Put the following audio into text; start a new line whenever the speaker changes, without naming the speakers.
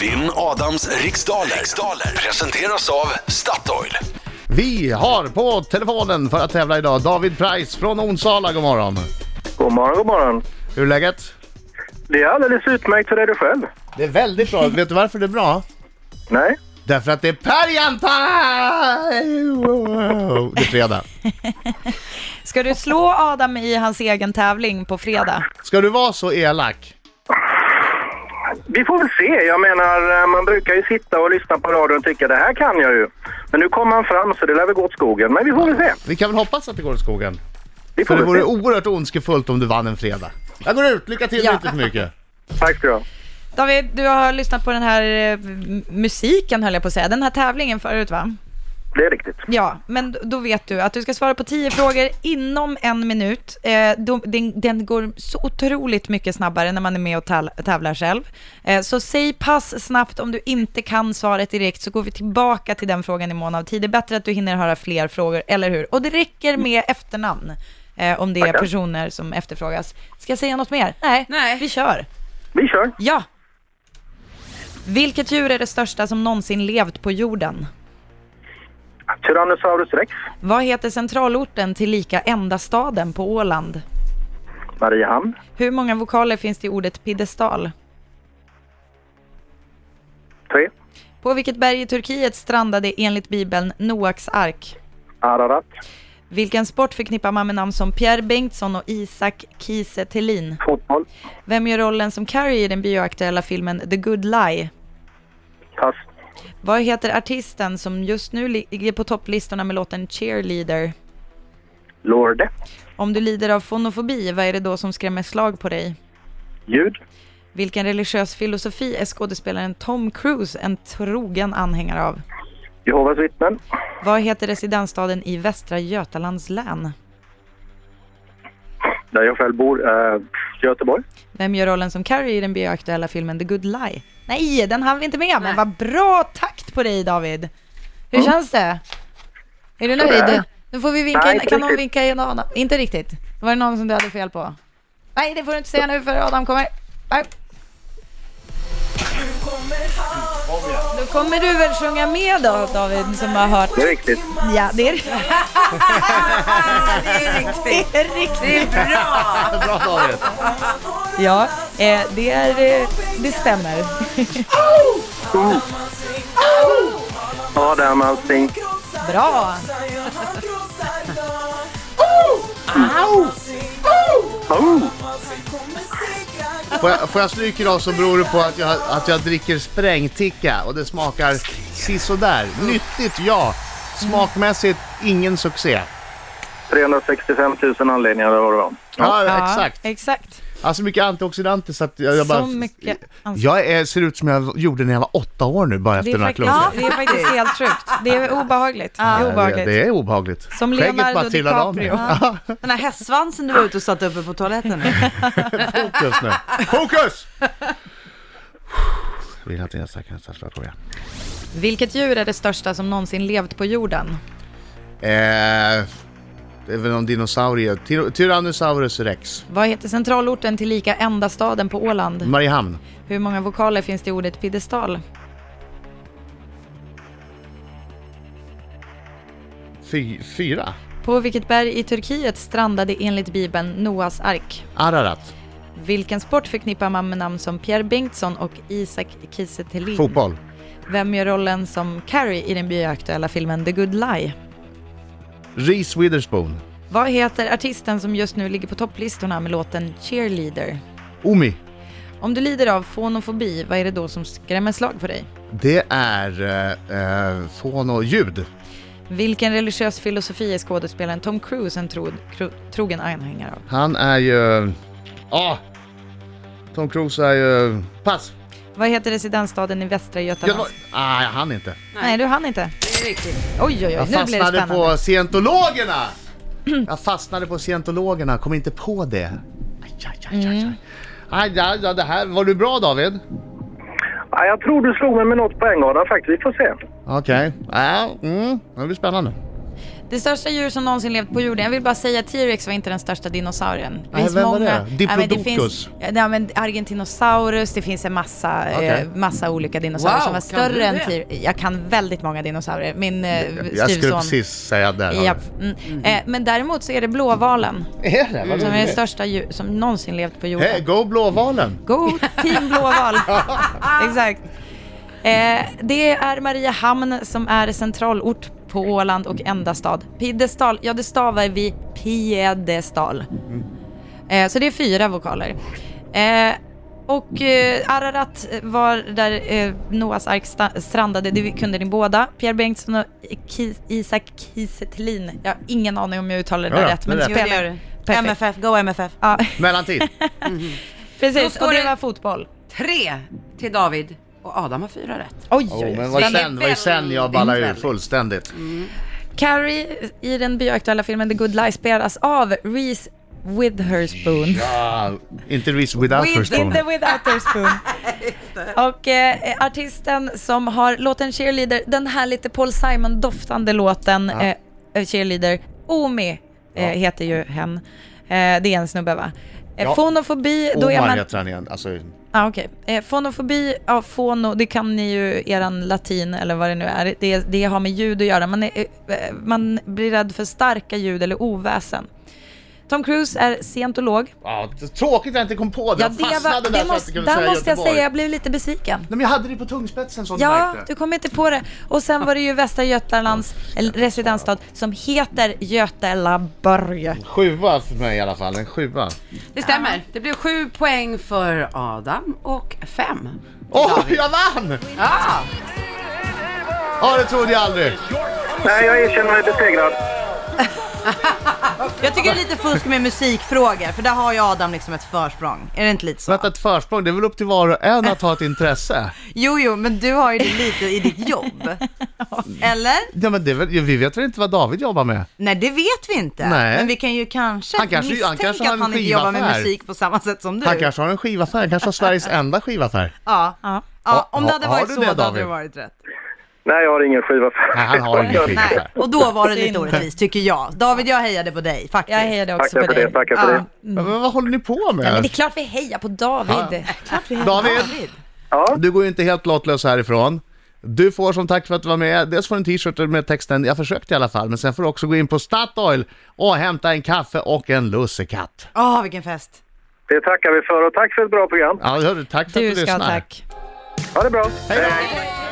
Vinn Adams riksdaler. riksdaler presenteras av Statoil.
Vi har på telefonen för att tävla idag David Price från Onsala. God morgon.
God morgon, god morgon.
Hur är läget?
Det är alldeles utmärkt, hur är du själv?
Det är väldigt bra. Vet du varför det är bra?
Nej?
Därför att det är Perjanpaj! Det är fredag.
Ska du slå Adam i hans egen tävling på fredag?
Ska du vara så elak?
Vi får väl se. Jag menar, eh, man brukar ju sitta och lyssna på radion och tycka det här kan jag ju. Men nu kommer han fram så det lär väl gå åt skogen. Men vi får väl se.
Vi kan väl hoppas att det går åt skogen?
Vi
För
får
det
väl
vore
se.
oerhört ondskefullt om du vann en fredag. Jag går ut, lycka till
Ja.
inte för mycket.
Tack ska du ha.
David, du har lyssnat på den här eh, m- musiken höll jag på att säga, den här tävlingen förut va?
Det är riktigt.
Ja, men d- då vet du att du ska svara på 10 frågor inom en minut. Eh, då, den, den går så otroligt mycket snabbare när man är med och täl- tävlar själv. Eh, så säg pass snabbt om du inte kan svaret direkt så går vi tillbaka till den frågan i mån av tid. Det är bättre att du hinner höra fler frågor, eller hur? Och det räcker med efternamn eh, om det är
Tackar.
personer som efterfrågas. Ska jag säga något mer? Nej,
Nej.
vi kör.
Vi kör.
Ja! Vilket djur är det största som någonsin levt på jorden?
Tyrannosaurus rex,
Vad heter centralorten till lika enda staden på Åland?
Mariehamn,
Hur många vokaler finns det i ordet piedestal?
tre,
På vilket berg i Turkiet strandade enligt Bibeln Noaks ark?
Ararat,
Vilken sport förknippar man med namn som Pierre Bengtsson och Isak Kiese Thelin?
fotboll,
Vem gör rollen som Carrie i den bioaktuella filmen The Good Lie?
pass,
Vad heter artisten som just nu ligger på topplistorna med låten Cheerleader?
Lorde,
Om du lider av fonofobi, vad är det då som skrämmer slag på dig?
ljud,
Vilken religiös filosofi är skådespelaren Tom Cruise en trogen anhängare av?
Jehovas vittnen,
Vad heter residensstaden i Västra Götalands län?
där jag själv bor, eh, Göteborg.
Vem gör rollen som Carrie i den bioaktuella filmen The Good Lie? Nej, den hann vi inte med, men vad bra takt på dig David! Hur känns det? Är du nöjd?
Sådär.
Nu får vi vinka,
Mm. Nej,
in-
inte
kan någon
riktigt.
vinka in Adam? Inte riktigt. Var det någon som du hade fel på? Nej, det får du inte säga nu för Adam kommer. Nej. Då kommer du väl sjunga med då David som har hört.
Det är riktigt.
Ja, det är,
Det är riktigt.
det är riktigt.
Det är bra.
Bra David!
Ja, eh, det, är, eh, det stämmer.
Adam Alsing,
Bra!
oh,
Får jag, får jag stryk idag så beror det på att jag, att jag dricker sprängticka och det smakar sisådär. Nyttigt, ja. Smakmässigt, ingen succé.
365 000 anledningar eller vad det var.
Ja, exakt.
exakt.
Alltså mycket antioxidanter så att jag, jag
Så
bara...
mycket ans-
Jag är, ser ut som jag gjorde när jag var åtta år nu bara
Det
efter
är,
den här
faktiskt,
klunken.
ja, det är faktiskt helt sjukt. Det är obehagligt. det är
Ja, det,
obehagligt.
det är obehagligt.
Som
Skägget
Leonardo
bara trillade av
DiCaprio.
mig.
Den här hästsvansen du var ute och satte uppe på toaletten.
Fokus nu. Fokus! Vill att jag kan ställa frågan.
Vilket djur är det största som någonsin levt på jorden?
Eh, det är väl någon dinosaurie. Tyr- Tyrannosaurus rex.
Vad heter centralorten till lika enda staden på
Mm.
Åland?
Mariehamn.
Hur många vokaler finns det i ordet piedestal?
Fy, fyra.
På vilket berg i Turkiet strandade enligt Bibeln Noas ark?
Ararat.
Vilken sport förknippar man med namn som Pierre Bengtsson och Isak Kiese Thelin?
Fotboll.
Vem gör rollen som Carrie i den bioaktuella filmen The Good Lie?
Reese Witherspoon.
Vad heter artisten som just nu ligger på topplistorna med låten Cheerleader?
Omi.
Om du lider av fonofobi, vad är det då som skrämmer slag på dig?
Det är eh, eh, fonoljud.
Vilken religiös filosofi är skådespelaren Tom Cruise en tro, tro, trogen anhängare av?
Han är ju... Ah! Tom Cruise är ju... Pass!
Vad heter residensstaden i Västra Götaland?
Göteborg. Ah, jag hann inte.
Nej, du hann inte.
Det är riktigt.
Oj, oj, oj,
Jag
nu blir det
fastnade
spännande.
på scientologerna! Jag fastnade på scientologerna, kom inte på det.
Mm.
Aj, aj, aj, aj, aj. Aj, aj, aj, det här, var du bra David?
Ja, jag tror du slog mig med något poäng Adam faktiskt. Vi får se.
Okej. Ja, mm, det blir spännande.
Det största djur som någonsin levt på jorden. Jag vill bara säga T-Rex var inte den största dinosaurien. Det
Nej,
finns
vem var
många.
det?
Ja, men det
Diplodocus.
finns, ja, men Argentinosaurus, det finns en massa,
Okej.
eh, massa olika dinosaurier
Wow,
som var
kan du
större än
det?
T-Rex. Jag kan väldigt många dinosaurier. Min eh,
Jag skulle
styvson.
precis säga där. har
Japp.
vi.
Mm. Eh, men däremot så är det blåvalen
Är det? Vad
Mm, som är det
roligt.
största djur som någonsin levt på jorden.
Hey, go Blåvalen!
Go team blåval. Exakt. Eh, det är Mariehamn som är centralort på Åland och enda stad. Piedestal, ja det stavar vi piedestal. Eh, så det är fyra vokaler. Eh, och eh, Ararat var där eh, Noahs ark sta- strandade, det kunde ni båda. Pierre Bengtsson och Ki- Isak Kisetelin. Jag har ingen aning om jag uttalar det där
Ja, ja,
rätt,
det
men
är
det
rätt.
spelar
Jo, det gör du.
Perfekt.
MFF, go MFF.
Ja,
Mellantid.
Då
precis,
står
och det
det-
var fotboll.
Tre till David och Adam har fyra rätt.
Oj, oj,
Oh,
oj.
men vad
Den är
sen, vad sen jag
väldigt
ballade ur
väldigt.
fullständigt.
Carrie i den bioaktuella filmen The Good Life spelas av Reese Witherspoon.
Ah, inte Reese without her
With,
spoon.
inte without her spoon. Och eh, artisten som har låten Cheerleader, den här lite Paul Simon-doftande låten eh, eh, Cheerleader, Omi eh, heter ju hen. Eh, det är en snubbe va? Eh,
Ja.
Fonofobi, då är
Omar
man...
heter han igen. Alltså,
Ah, okay. eh, fonofobi, ja, fono, det kan ni ju, eran latin eller vad det nu är, det, det har med ljud att göra. Man, är, eh, man blir rädd för starka ljud eller oväsen. Tom Cruise är scientolog.
ah, tråkigt att jag inte kom på det.
Ja,
Jag
det
fastnade där så
var, det
att jag
måste,
kunde
där
säga
måste jag
Göteborg.
säga, jag blev lite besviken.
Nej, men jag hade det på tungspetsen som
Ja,
du märkte.
du kom inte på det. Och sen var det ju Västra Götalands residensstad som heter Götelaborg.
Sjua för mig i alla fall. En sjua.
Det stämmer. Det blev sju poäng för Adam och fem.
Åh, jag vann!
Ja,
Ja, det trodde jag aldrig.
Nej, jag erkänner mig besegrad.
Jag tycker det är lite fusk med musikfrågor, för där har ju Adam liksom ett försprång. Är det inte lite så?
Vänta, ett försprång, det är väl upp till var och en att ha ett intresse?
Jo, jo, men du har ju det lite i ditt jobb. Eller?
Ja, men det är väl, vi vet väl inte vad David jobbar med?
Nej, det vet vi inte.
Nej.
Men vi kan ju kanske,
Han kanske-
misstänka
han kanske har
att
en
han inte jobbar med
skivaffär.
musik på samma sätt som du.
Han kanske har en skivaffär, han kanske har Sveriges enda skivaffär.
Ja.
Ja.
ja, om det hade
Har- har
varit
du
så,
det,
då hade
David?
det varit rätt.
Nej, jag har ingen skiva.
Nej, han har ingen
Nej,
skivaffär.
och då var det lite
Synd.
orättvist tycker jag. David, jag hejade på dig
Jag
faktiskt.
hejade
Tackar
också på
för
dig.
det, tackar för det.
Men vad håller ni på med?
Ja, men det är klart vi hejar på David.
David, du går ju inte helt lottlös härifrån. Du får som tack för att du var med, dels får du en t-shirt med texten “Jag försökte i alla fall” men sen får du också gå in på Statoil och hämta en kaffe och en lussekatt.
Åh, vilken fest.
Det tackar vi för och tack för ett bra program.
Ja, hörru, tack för
Du
att du
ska ha
lyssnar.
tack.
Ha det bra.
Hej då!
Hej.
Hej.